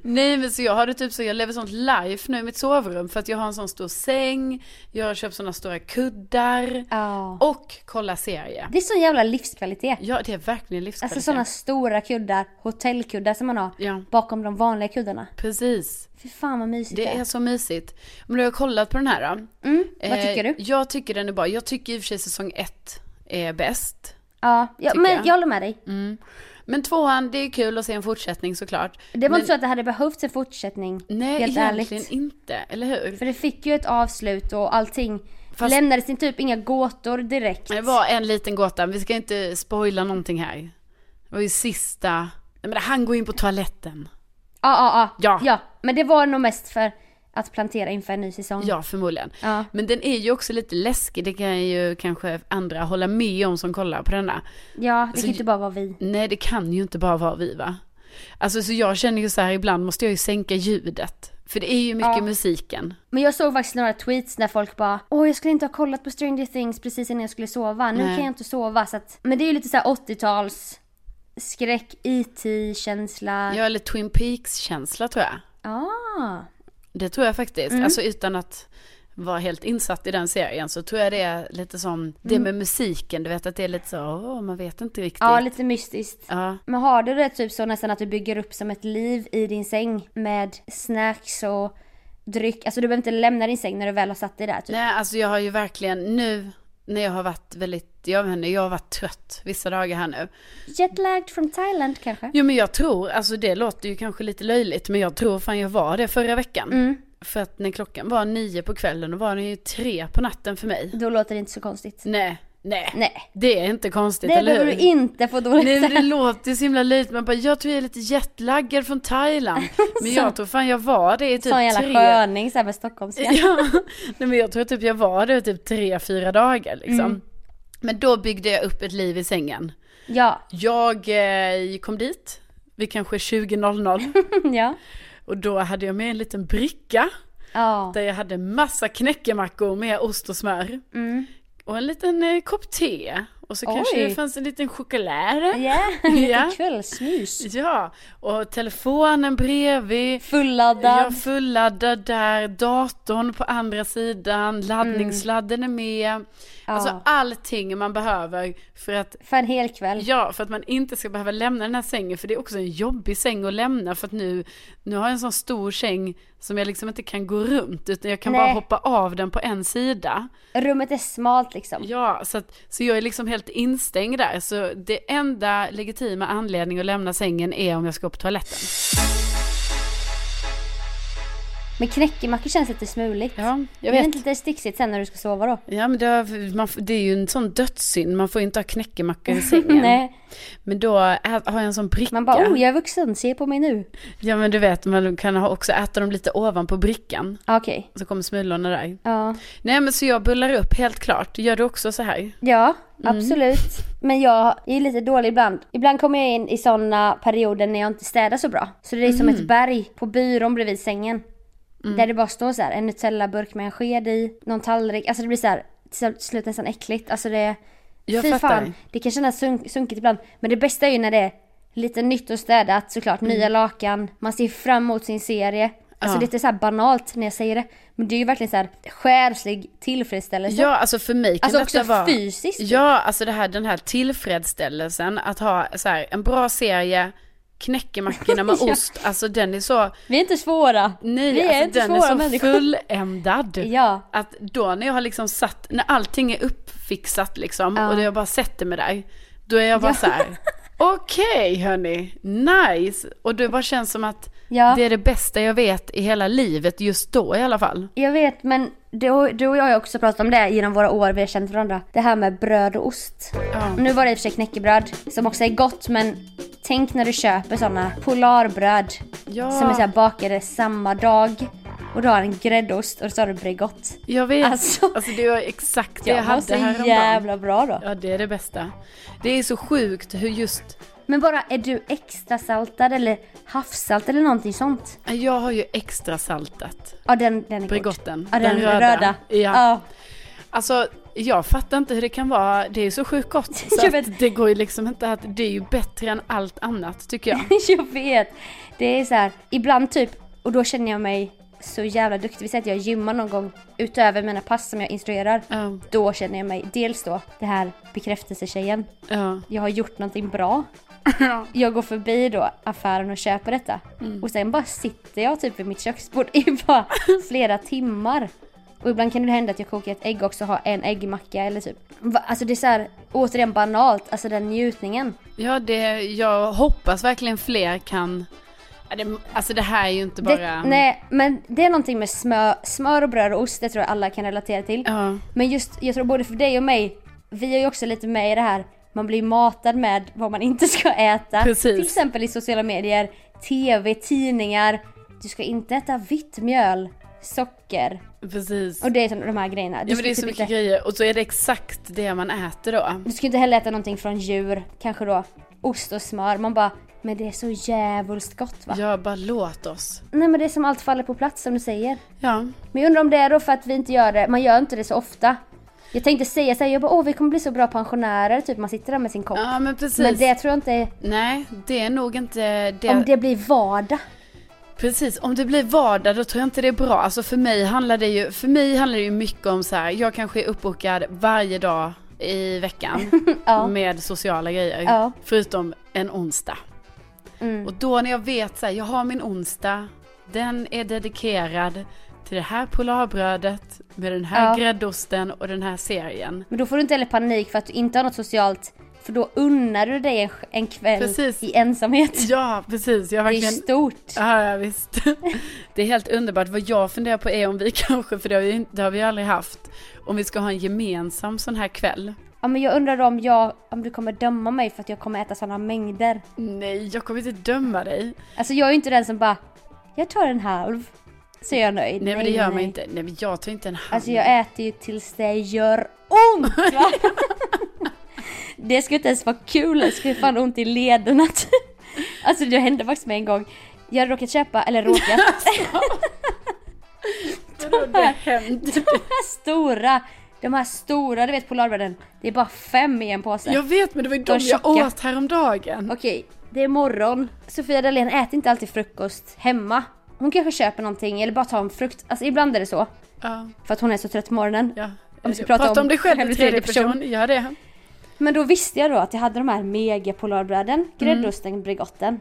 Nej men så jag har det typ så, jag lever sånt life nu i mitt sovrum för att jag har en sån stor säng, jag har köpt såna stora kuddar Ja. och kolla serie. Det är sån jävla livskvalitet. Ja det är verkligen livskvalitet. Alltså såna stora kuddar, hotellkuddar som man har Ja. bakom de vanliga kuddarna. Precis, Fy fan vad mysigt det är så mysigt. Men du har jag kollat på den här då. Mm, vad tycker du? Eh, jag tycker den är bra, jag tycker i och för sig säsong ett är bäst. Ja, ja tycker men jag. Mm, jag. håller med dig. Men tvåan, det är kul att se en fortsättning såklart. Det var inte så att det hade behövts en fortsättning. Nej helt egentligen ärligt. inte, eller hur? För det fick ju ett avslut och allting. Fast- Lämnades in typ inga gåtor direkt. Det var en liten gåta, vi ska inte spoila någonting här. Det var ju sista, nej men det- han går in på toaletten. Ja, ja, Ja. ja. Ja, men det var nog mest för att plantera inför en ny säsong. Ja, förmodligen. Mm. Ja. Men den är ju också lite läskig, det kan ju kanske andra hålla med om som kollar på denna. Ja, det Så kan inte bara vara vi. Nej, det kan ju inte bara vara vi va? Alltså så jag känner ju så här, ibland måste jag ju sänka ljudet. För det är ju mycket Ja. musiken. Men jag såg faktiskt några tweets när folk bara Åh jag skulle inte ha kollat på Stranger Things precis innan jag skulle sova. Nu Nej. kan jag inte sova. Så att, men det är ju lite så här 80-tals skräck, E IT-känsla. Ja. Ja, eller Twin Peaks-känsla tror jag. Ah. Det tror jag faktiskt. Mm. Alltså utan att vara helt insatt i den serien så tror jag det är lite som det med musiken, du vet att det är lite så, åh, man vet inte riktigt. Mm. ja, lite mystiskt. ja. Men har du det typ så nästan att du bygger upp som ett liv i din säng med snacks och dryck? Alltså du behöver inte lämna din säng när du väl har satt dig där typ. Nej, alltså jag har ju verkligen nu när jag har varit väldigt, jag vet inte, jag har varit trött vissa dagar här nu. Jetlagged from Thailand kanske? Jo men jag tror, alltså det låter ju kanske lite löjligt men jag tror fan jag var det förra veckan. Mm. För att när klockan var nio på kvällen då var den ju tre på natten för mig. Då låter det inte så konstigt. Nej, nej. Nej. Det är inte konstigt, Det Mm. eller behöver hur? du inte få dåligt Nej men det samvete. låter ju så himla löjligt, man bara jag tror jag är lite jetlaggad från Thailand. Men jag tror fan jag var det i typ Sån jävla tre. sköning såhär med stockholmska. Ja, nej men jag tror typ jag var det i typ tre, fyra dagar liksom. Mm. Men då byggde jag upp ett liv i sängen. Ja, Jag eh, kom dit vid kanske 20.00 ja. och då hade jag med en liten bricka Ja. där jag hade massa knäckemackor med ost och smör. Mm. Och en liten eh, kopp te. Och så kanske Oj. det fanns en liten choklad. Ja, Ja. lite kvällsmys. Ja, och telefonen bredvid. Fulladdad. Jag fulladdad där, datorn på andra sidan, laddningssladden är med. Alltså allting man behöver för att, För en hel kväll. ja, för att man inte ska behöva lämna den här sängen. För det är också en jobbig säng att lämna för att nu, nu har jag en sån stor säng som jag liksom inte kan gå runt utan jag kan bara Nej. hoppa av den på en sida. Rummet är smalt liksom. Ja, så, att, så jag är liksom helt instängd där. Så det enda legitima anledningen att lämna sängen är om jag ska på toaletten. Men knäckemackor känns lite smuligt. Ja, jag Det är vet. inte lite sticksigt sen när du ska sova då. Ja men det, har- man, får- det är ju en sån dödssynd, man får ju inte ha knäckemackor i sängen. Nej. Men då ä- har jag en sån bricka. Man bara oh jag är vuxen, se på mig nu. Ja men du vet, man kan ha också äta dem lite ovanpå brickan. Okej. Så kommer smulorna där. Ja. Nej men så jag bullar upp helt klart, gör du också så här? Ja, Mm. absolut. Men jag är lite dålig ibland. Ibland kommer jag in i sådana perioder när jag inte städar så bra. Så det är som Mm. ett berg på byrån bredvid sängen. Där det bara står så här, en Nutella-burk med en sked i, någon tallrik. Alltså det blir så här till slut nästan äckligt. Alltså det, Jag fy fattar. fan. Det kan kännas sunk- sunkigt ibland. Men det bästa är ju när det är lite nytt och städat såklart. Nya lakan, man ser fram emot sin serie. Alltså Mm. Ja. det är lite så här banalt när jag säger det. Men det är ju verkligen så här själslig tillfredsställelse. Ja alltså för mig kan Alltså detta också vara... fysiskt. Ja alltså det här, den här tillfredsställelsen att ha så här, en bra serie, knäckemackorna med Ja. ost, alltså den är så... Vi är inte svåra. Nej, vi är alltså, inte den svåra är så människor. fulländad. Ja. Att då när jag har liksom satt, när allting är uppfixat liksom Ja. och jag bara sätter mig där, då är jag bara Ja. så här. okej hörni, nice! Och det bara känns som att Ja. det är det bästa jag vet i hela livet just då i alla fall. Jag vet men du, du och jag har ju också pratat om det genom våra år vi har känt varandra. Det här med bröd och ost. Ja. Nu var det i och för sig knäckebröd som också är gott men tänk när du köper sådana polarbröd Ja. som är så här bakade samma dag och du har en gräddost och så har du Bregott. Jag vet, alltså, Alltså. det var exakt det jag, Jag mår hade så häromdagen. jävla bra då. Ja det är det bästa. Det är så sjukt hur just Men bara är du extra saltad eller havssalt eller någonting sånt? jag har ju extra saltat Ja den, den är god. Bregotten. Ja den, röda. Ja. ja. Alltså jag fattar inte hur det kan vara, det är ju så sjukt gott. Så Jag vet. att det går ju liksom inte att, det är ju bättre än allt annat tycker jag. jag vet. Det är så här, ibland typ, och då känner jag mig så jävla duktig. Vi säger att jag gymmar någon gång utöver mina pass som jag instruerar. Ja, Då känner jag mig, dels då, det här bekräftelsetjejen. ja, Jag har gjort någonting bra. Jag går förbi då affären och köper detta. Och sen bara sitter jag typ vid mitt köksbord i bara flera timmar. Och ibland kan det hända att jag kokar ett ägg också och har en äggmacka eller typ. Va? Alltså det är så här, återigen banalt, alltså den njutningen. ja det, jag hoppas verkligen fler kan, ja, det, alltså det här är ju inte bara... Det, nej, men det är någonting med smör, smör och bröd och ost, det tror jag alla kan relatera till. Ja, Men just, jag tror både för dig och mig, vi är ju också lite med i det här, man blir matad med vad man inte ska äta. Precis. Till exempel i sociala medier, TV, tidningar. Du ska inte äta vitt mjöl, socker precis. och det är sån- de här grejerna. Du, Ja men ska det är så typ mycket inte, grejer och så är det exakt det man äter då. du ska inte heller äta någonting från djur, kanske då ost och smör. Man bara, men det är så jävligt gott va? Ja, bara låt oss. Nej men det är som allt faller på plats som du säger. Ja, Men jag undrar om det är då för att vi inte gör det, man gör inte det så ofta. Jag tänkte säga såhär, jag bara åh vi kommer bli så bra pensionärer, typ man sitter där med sin kopp. ja men precis. men det tror jag inte, Nej, det är nog inte det. om det blir vardag. Precis, om det blir vardag då tror jag inte det är bra. Alltså för mig handlar det ju, för mig handlar det ju mycket om så här, jag kanske är uppbokad varje dag i veckan Ja. med sociala grejer. Ja. Mm. Förutom en onsdag. Och då när jag vet så här, jag har min onsdag, den är dedikerad till det här polarbrödet med den här Ja. gräddosten och den här serien. Men då får du inte heller panik för att du inte har något socialt, för då unnar du dig en, en kväll Precis. i ensamhet. Ja, precis. Jag har Det är verkligen stort. Ja, ja visst. Det är helt underbart. Vad jag funderar på är om vi kanske, för det har vi, ju inte- det har vi ju aldrig haft, om vi ska ha en gemensam sån här kväll. Ja men jag undrar om jag, om du kommer döma mig för att jag kommer äta sådana mängder. Nej, jag kommer inte döma dig. Alltså jag är ju inte den som bara, jag tar en halv, så är jag nöjd. Nej, men det gör man inte. Nej men jag tar inte en hand. Alltså jag äter ju tills det gör ont! Va? det skulle inte ens vara kul, det skulle fan ont i lederna. typ. alltså det hände faktiskt med en gång. Jag hade råkat köpa, eller råkat, Vadå, det händer. de här stora, de här stora, du vet polarbröden. Det är bara fem i en påse. Jag vet men det var ju de De jag tjocka. åt häromdagen. Okej, det är morgon. Sofia Dalén äter inte alltid frukost hemma. Hon kanske köper någonting eller bara tar en frukt. Alltså ibland är det så. Ja, För att hon är så trött på morgonen. ja. Om vi ska Prata prata om, om dig själv i själv i tredje tredje person. Gör det. Men då visste jag då att jag hade de här mega polarbröden, gräddosten, Bregotten.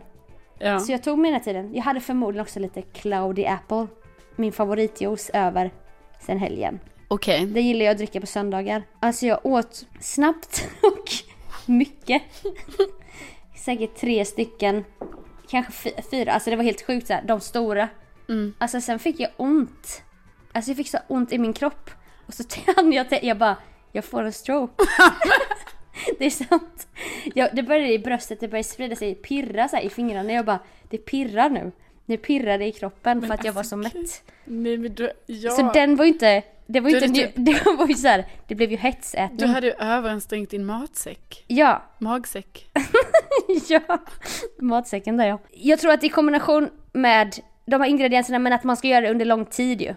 Ja. Så jag tog mig den här tiden. Jag hade förmodligen också lite Cloudy Apple, min favoritjuice, över sen helgen. Okej. Det gillar jag att dricka på söndagar. Alltså jag åt snabbt och mycket. Säkert tre stycken, kanske fy- fyra. Alltså det var helt sjukt så här, de stora. Mm. Alltså sen fick jag ont. Alltså jag fick så ont i min kropp. Och så hann jag tänka, jag bara, jag får en stroke. det är sant. Jag, det började i bröstet, det började sprida sig, pirra så här, i fingrarna. Jag bara, det pirrar nu. Det pirrade i kroppen för att jag var så mätt. Nej men du, ja. Så den var ju inte, det var ju Då är inte, det det, det var ju så här, det blev ju Du hetsätning. hade ju överansträngt din matsäck. Ja, Magsäck. ja. Matsäcken där ja. Jag tror att i kombination med de här ingredienserna men att man ska göra det under lång tid ju.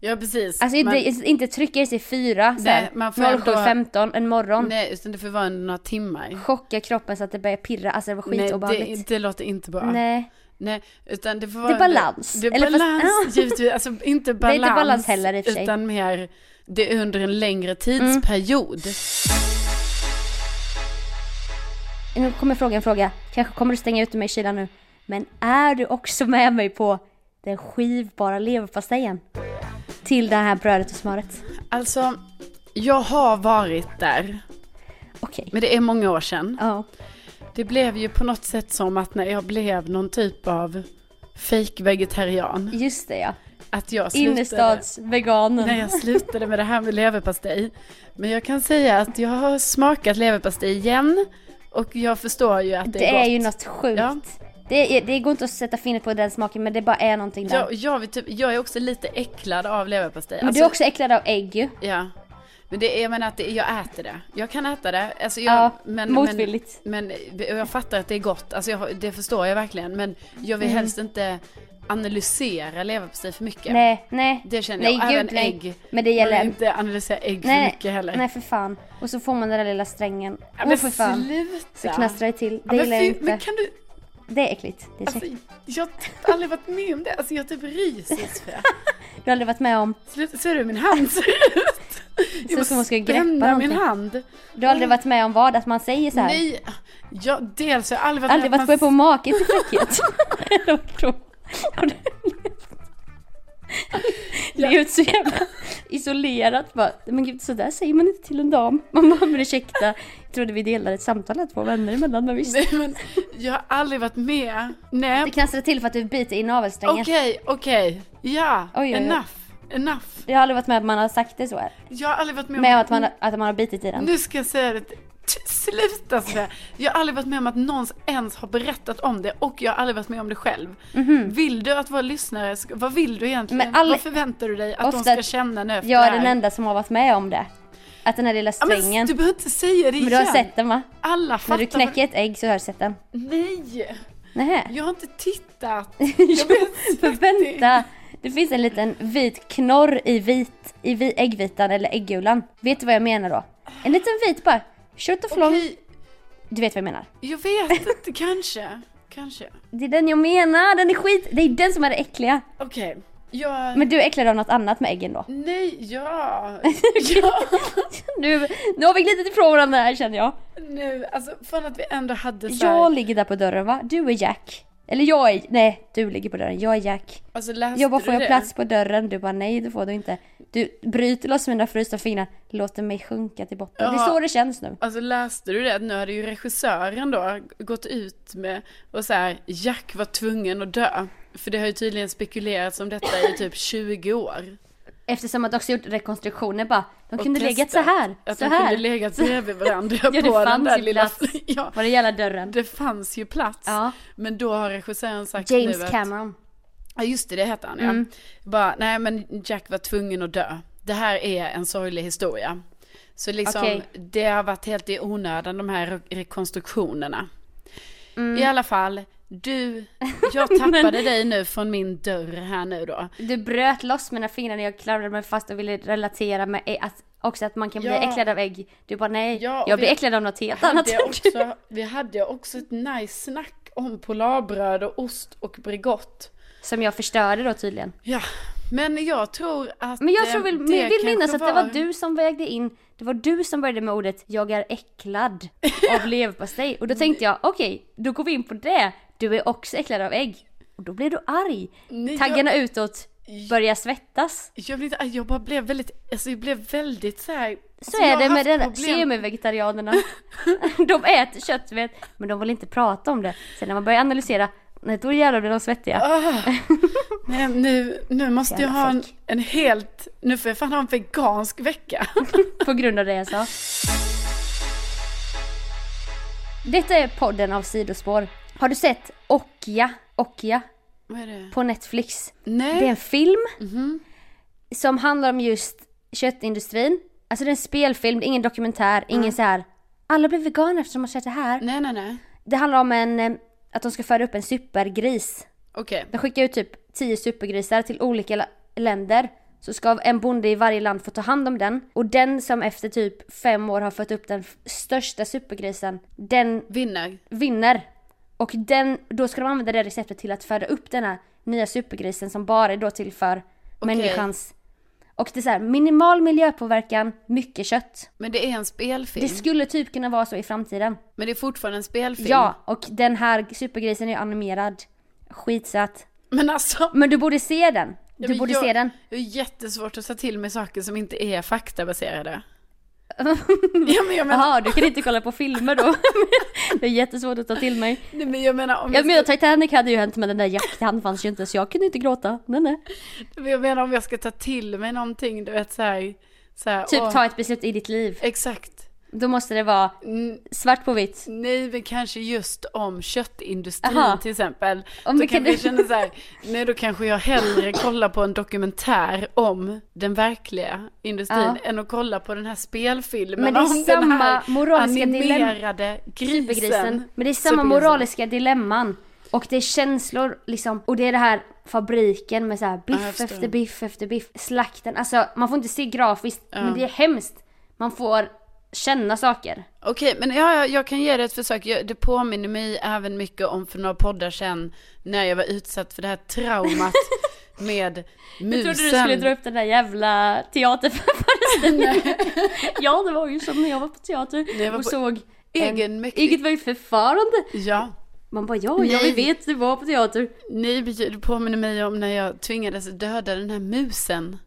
Ja precis. Alltså Man- inte, inte trycka i sig fyra så här, Nej, man får ändå- 07.15 en morgon. Nej, utan det får vara under några timmar. Chocka kroppen så att det börjar pirra, alltså det var Nej, det, skitobehagligt. det låter inte bra. Nej. Nej, utan det får vara... det är balans. Det är Eller fast- balans, Ah. givetvis. Alltså inte är balans. inte balans heller i och för sig. Utan mer, det är under en längre tidsperiod. Mm. Nu kommer frågan fråga, kanske kommer du stänga ut mig i kylan nu. Men är du också med mig på den skivbara leverpastejen? Till det här brödet och smöret. Alltså, jag har varit där. Okej. Men det är många år sedan. Ja. Det blev ju på något sätt som att när jag blev någon typ av fake vegetarian Just det ja. Att jag slutade. Innerstadsveganen. när jag slutade med det här med leverpastej. Men jag kan säga att jag har smakat leverpastej igen och jag förstår ju att det, det är, gott. ju något sjukt. Ja. Det, är, det går inte att sätta fingret på den smaken men det bara är någonting där. Jag, jag, vill typ, jag är också lite äcklad av leverpastej. Alltså, men du är också äcklad av ägg ju. Ja. Men det är, jag menar att det, jag äter det. Jag kan äta det. Alltså jag, Ja, men, motvilligt. Mm. Men, men jag fattar att det är gott. Alltså jag, har- det förstår jag verkligen. Men jag vill helst inte analysera leverpastej för mycket. Nej, nej. Det känner nej, jag. Även gud, nej. ägg. Men det Man gäller... vill inte analysera ägg för nej, mycket heller. nej, för fan. Och så får man den där lilla strängen. Ja, Åh, men för fan. sluta. Så knastrar det till. Ja, Det men, gillar jag fy- inte. men kan du, Det är äckligt. Det är alltså, så- jag har typ aldrig varit med om det. Alltså jag typ ryser Sofia. Du har aldrig varit med om... Sluta, ser du hur min hand ser ut? ut som bara hon ska greppa spänner min någonting. hand. Du har Mm. aldrig varit med om vad? Att man säger så här. Nej, jag, dels har jag aldrig varit aldrig med varit att på man- på maken till fräckhet. Det var då- Det är ju så jävla isolerat bara. Men gud sådär säger man inte till en dam. Man bara men ursäkta. Jag trodde vi delade ett samtal här två vänner emellan men visst. Nej men jag har aldrig varit med. Det Nej, knastrar till för att du biter i navelsträngen. okej, okej. Ja, Oj, oj, oj. enough. Enough. Jag har aldrig varit med att man har sagt det så här. Jag har aldrig varit med om... Med om att man, har- att man har bitit i den. Nu ska jag säga det. T- Sluta Sofia! Jag har aldrig varit med om att någon ens har berättat om det och jag har aldrig varit med om det själv. Vill du att våra lyssnare, ska, vad vill du egentligen? Mhm. Men all- Vad förväntar du dig att de Ofta ska känna nu efter Jag det är här? den enda som har varit med om det. Att den här lilla ja, men, strängen. Du behöver inte säga det igen. Men du har sett den va? Alla När fattar. du knäcker ett ägg så har du sett den. vad- Nej! Nähä. Jag har inte tittat. Jo, vet för inte. vänta! Det finns en liten vit knorr i, vit, i vi- äggvitan eller äggulan. Vet du vad jag menar då? En liten vit bara. Short och flång. Okej, Du vet vad jag menar. jag vet inte. Kanske. Kanske. Det är den jag menar, den är skit. Det är den som är det äckliga. Okej. Jag... Men du är äcklad av något annat med äggen då. Nej, ja. ja. Nu, nu har vi glidit ifrån varandra här känner jag. Nu, alltså från att vi ändå hade så här, Jag ligger där på dörren va? Du är Jack. Eller jag är, nej du ligger på dörren, jag är Jack. alltså, läste Jag bara du får jag det? plats på dörren? Du bara nej det får du inte. Du bryter loss mina frysta fingrar, låter mig sjunka till botten. Det är Ja. så det känns nu. Alltså läste du det? Att Nu hade ju regissören då gått ut med och så här, Jack var tvungen att dö. För det har ju tydligen spekulerats om detta i typ 20 år. Eftersom att också gjort rekonstruktioner bara. De Och kunde legat så testat här. Att så de här. kunde legat bredvid varandra det på den fanns där ju lilla... plats. ja, Var det gäller dörren? det fanns ju plats. Ja. Men då har regissören sagt nu James att- Cameron. Mm. Ja just det, det hette han ja. Bara, nej men Jack var tvungen att dö. Det här är en sorglig historia. Så liksom, Okej. det har varit helt i onödan de här re- rekonstruktionerna. Mm. I alla fall, du, jag tappade dig nu från min dörr här nu då. Du bröt loss mina fingrar när jag klamrade mig fast och ville relatera med ä- att, också att man kan bli Ja. äcklad av ägg. Du bara nej, Ja, och jag blir vi- äcklad av något helt annat. Hade jag också, vi hade också ett nice snack om polarbröd och ost och Bregott. Som jag förstörde då tydligen. Ja, men jag tror att Men jag eh, tror väl, det vill kanske minnas att det var du som vägde in, det var du som började med ordet jag är äcklad av leverpastej. Och då tänkte jag okej, då går vi in på det. Du är också äcklad av ägg. Och då blir du arg. Nej, jag- Taggarna utåt börjar svettas. Jag blev inte arg, jag bara blev väldigt, alltså jag blev väldigt så här. Så alltså, jag är har det med haft den problem. semivegetarianerna. de äter kött vet, men de vill inte prata om det. Sen när man börjar analysera, nej då jävlar blir de svettiga. Ah, nej, nu, nu måste jag Jävla ha en, folk. en helt, nu får jag fan ha en vegansk vecka. På grund av det jag sa. Detta är podden av sidospår. Har du sett Okja? Okja? Vad är det? På Netflix. Det är Nej, en film som handlar om just köttindustrin. Alltså det är en spelfilm, det är ingen dokumentär, ingen så här. Alla blev veganer eftersom man kött det här. nej, nej, nej. Det handlar om en, eh, att de ska föda upp en supergris. Okej. De skickar ut typ 10 supergrisar till olika la- länder. Så ska en bonde i varje land få ta hand om den. Och den som efter typ fem år har fött upp den f- största supergrisen, den Vinner. vinner. Och den, då ska de använda det receptet till att föda upp den här nya supergrisen som bara är då till för människans. Och det är så här, minimal miljöpåverkan, mycket kött. Men det är en spelfilm. Det skulle typ kunna vara så i framtiden. Men det är fortfarande en spelfilm. Ja, och den här supergrisen är animerad. Skitsatt. Men alltså. Men du borde se den. Du men borde jag, se den. Jag är jättesvårt att ta till mig saker som inte är faktabaserade. ja, men jag menar, Jaha, du kan inte kolla på filmer då. det är jättesvårt att ta till mig. nej, men jag menar om Jag jag, menar Titanic hade ju hänt men den där Jack han fanns ju inte så jag kunde inte gråta. Nej nej. ska, jag menar om jag ska ta till mig någonting, du vet så här. Så här Typ åh, ta ett beslut i ditt liv. Exakt. Då måste det vara Mm, svart på vitt. Nej, men kanske just om köttindustrin Aha. till exempel. men då kan kan du- jag känna så här, nej då kanske jag hellre kollar på en dokumentär om den verkliga industrin Ja. än att kolla på den här spelfilmen Men det är om den samma här moraliska dilemma. animerade grisen. Supergrisen. Men det är samma Supergrisen. moraliska dilemman. Och det är känslor liksom. Och det är det här fabriken med så här Ja, jag biff förstår. efter biff efter biff. Slakten. Alltså man får inte se grafiskt men det är hemskt. Man får känna saker. Okej, men ja, ja, jag kan ge det ett försök. Jag, det påminner mig även mycket om för några poddar sedan när jag var utsatt för det här traumat med musen. Jag trodde du skulle dra upp den där jävla teaterföreställningen. ja, det var ju som när jag var på teater jag var och på såg egenmäktig- Egenmäktigt förfarande. Ja. Man bara ja, ja, vi Nej. vet, du var på teater. Nej, det påminner mig om när jag tvingades döda den här musen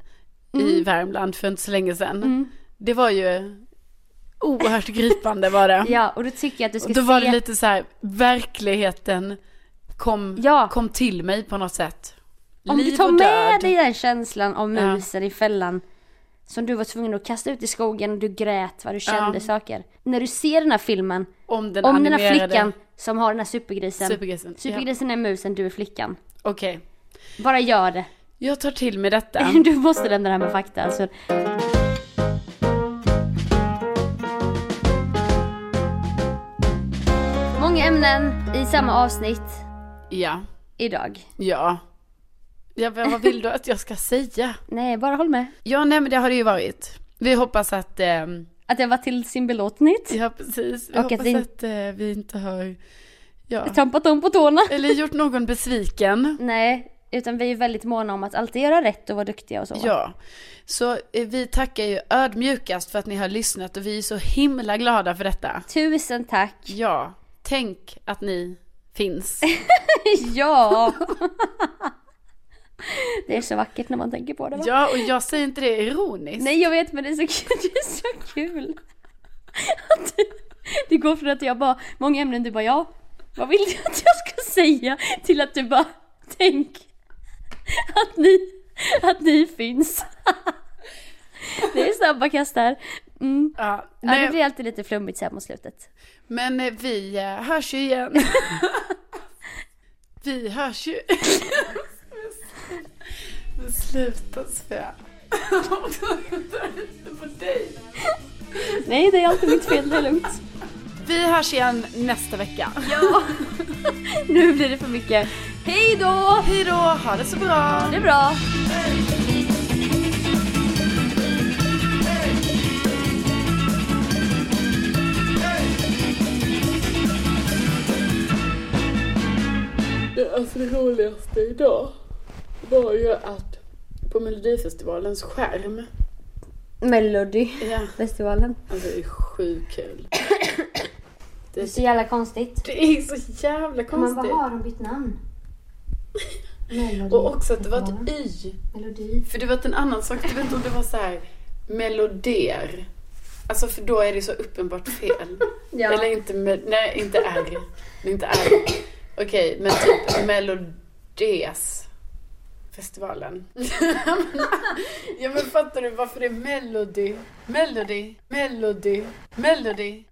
Mm. i Värmland för inte så länge sedan. Det var ju oerhört gripande var det. Ja och då tycker jag att du ska Då var se. det lite så här, verkligheten kom, Ja. kom till mig på något sätt. Om du Liv tar och med död. dig den känslan av Ja. musen i fällan som du var tvungen att kasta ut i skogen, du grät, vad du kände saker. När du ser den här filmen, om den om den här animerade flickan som har den här supergrisen. Supergrisen, ja. Supergrisen är musen, du är flickan. Okej, Bara gör det. jag tar till mig detta. Du måste lämna det här med fakta alltså. Många ämnen i samma avsnitt Ja, idag. ja. ja men vad vill du att jag ska säga? Nej, bara håll med. Ja, nej men det har det ju varit. Vi hoppas att, eh, Att jag var till sin belåtenhet. ja precis, vi Och att hoppas att, vi- eh, vi inte har, ja, Trampat dem på tårna. eller gjort någon besviken. Nej, utan vi är väldigt måna om att alltid göra rätt och vara duktiga och så. Ja, så eh, vi tackar ju ödmjukast för att ni har lyssnat och vi är så himla glada för detta. Tusen tack. Ja, tänk att ni finns. ja! det är så vackert när man tänker på det va? Ja, och jag säger inte det ironiskt. Nej jag vet men det är så kul, det är så kul. Att du- Det går från att jag bara, många ämnen du bara ja, vad vill du att jag ska säga? Till att du bara, tänk att ni, att ni finns. Det är snabba kast där. Mm. Ja, Ja, det nej, blir alltid lite flummigt så här mot slutet. Men eh, vi eh, hörs ju igen. vi hörs ju. Men Sluta Svea. Nej det är alltid mitt fel, det är lugnt. Vi hörs igen nästa vecka. Nu blir det för mycket. Hej då! Hej då, ha det så bra. Det är bra. Det, alltså det roligaste idag var ju att på Melodifestivalens skärm, Melody. ja, Festivalen. alltså det är sjukt kul. Det är så jävla konstigt. Det är så jävla Man konstigt. bara, har de bytt namn? Melody. Och också att det var typ- ett y. Melodi. För det var en annan sak, jag vet inte om det var så här meloder. Alltså för då är det så uppenbart fel. Ja. Eller inte, med, nej inte R. Inte R. Okej, men typ melodesfestivalen. Festivalen. ja men fattar du varför det är melody? Melody, melody, melody.